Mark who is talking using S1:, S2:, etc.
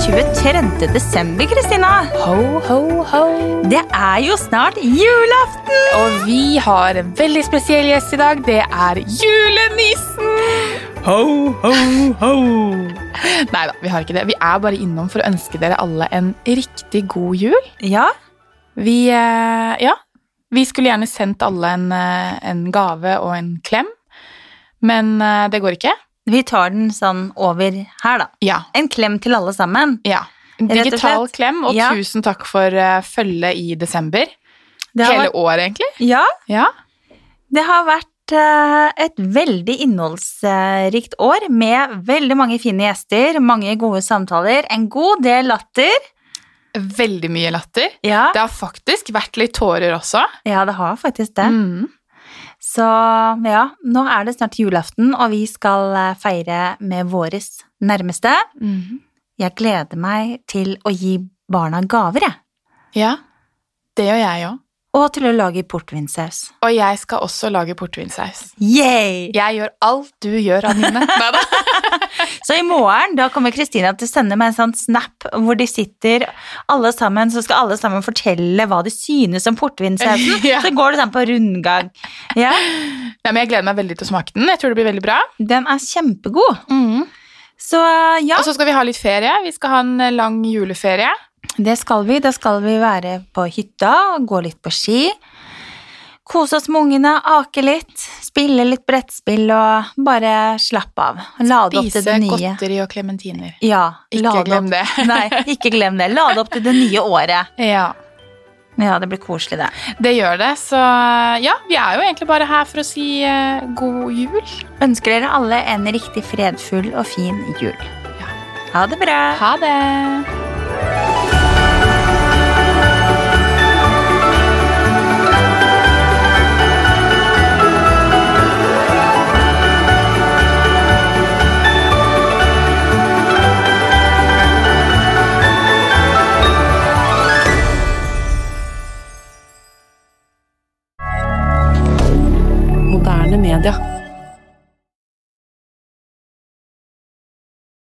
S1: 23. desember, Kristina.
S2: Ho, ho, ho.
S1: Det er jo snart julaften!
S2: Og vi har en veldig spesiell gjest i dag. Det er julenissen!
S1: Ho, ho, ho!
S2: Nei da, vi har ikke det. Vi er bare innom for å ønske dere alle en riktig god jul.
S1: Ja,
S2: Vi, eh, ja, vi skulle gjerne sendt alle en, eh, en gave og en klem, men eh, det går ikke.
S1: vi tar den sånn over her, da.
S2: Ja.
S1: En klem til alle sammen.
S2: ja.
S1: og
S2: Digital
S1: slett.
S2: klem, og
S1: Ja.
S2: tusen takk for eh, følget i desember.
S1: Det har
S2: Hele
S1: vært,
S2: året, egentlig.
S1: ja,
S2: Ja.
S1: det har vært eh, et veldig innholdsrikt år med veldig mange fine gjester, mange gode samtaler, en god del latter.
S2: Veldig mye latter.
S1: Ja,
S2: Det har faktisk vært litt tårer også.
S1: ja det har faktisk det.
S2: Mm.
S1: Så ja, nå er det snart julaften, og vi skal eh, feire med våres nærmeste.
S2: Mm.
S1: Jeg gleder meg til å gi barna gaver, jeg.
S2: Ja, det gjør jeg òg.
S1: Og til å lage portvinsaus.
S2: Og jeg skal også lage portvinsaus.
S1: Yay!
S2: Jeg gjør alt du gjør, Anine. Neida.
S1: Så i morgen da kommer Kristina til å sende meg en sånn snap hvor de sitter alle sammen, så skal alle sammen fortelle hva de synes om portvinsausen.
S2: Ja.
S1: Så går det sånn på rundgang. Ja,
S2: Nei, men jeg gleder meg veldig til å smake den. Jeg tror det blir veldig bra.
S1: den er kjempegod. Så Mm, ja,
S2: Og så skal vi ha litt ferie. Vi skal ha en eh, lang juleferie.
S1: det skal vi. Da skal vi være på hytta, gå litt på ski. Kose oss med ungene, ake litt, spille litt brettspill og bare slappe av. Lade opp til
S2: Spise
S1: det nye.
S2: godteri og klementiner.
S1: Ja,
S2: Ikke
S1: lade opp-
S2: glem det.
S1: Nei, ikke glem det. Lade opp til det nye året.
S2: Ja,
S1: Ja, det blir koselig, det.
S2: det gjør det. Så ja, vi er jo egentlig bare her for å si eh, god jul.
S1: Ønsker dere alle en riktig fredfull og fin jul. Ha det bra!
S2: Ha det!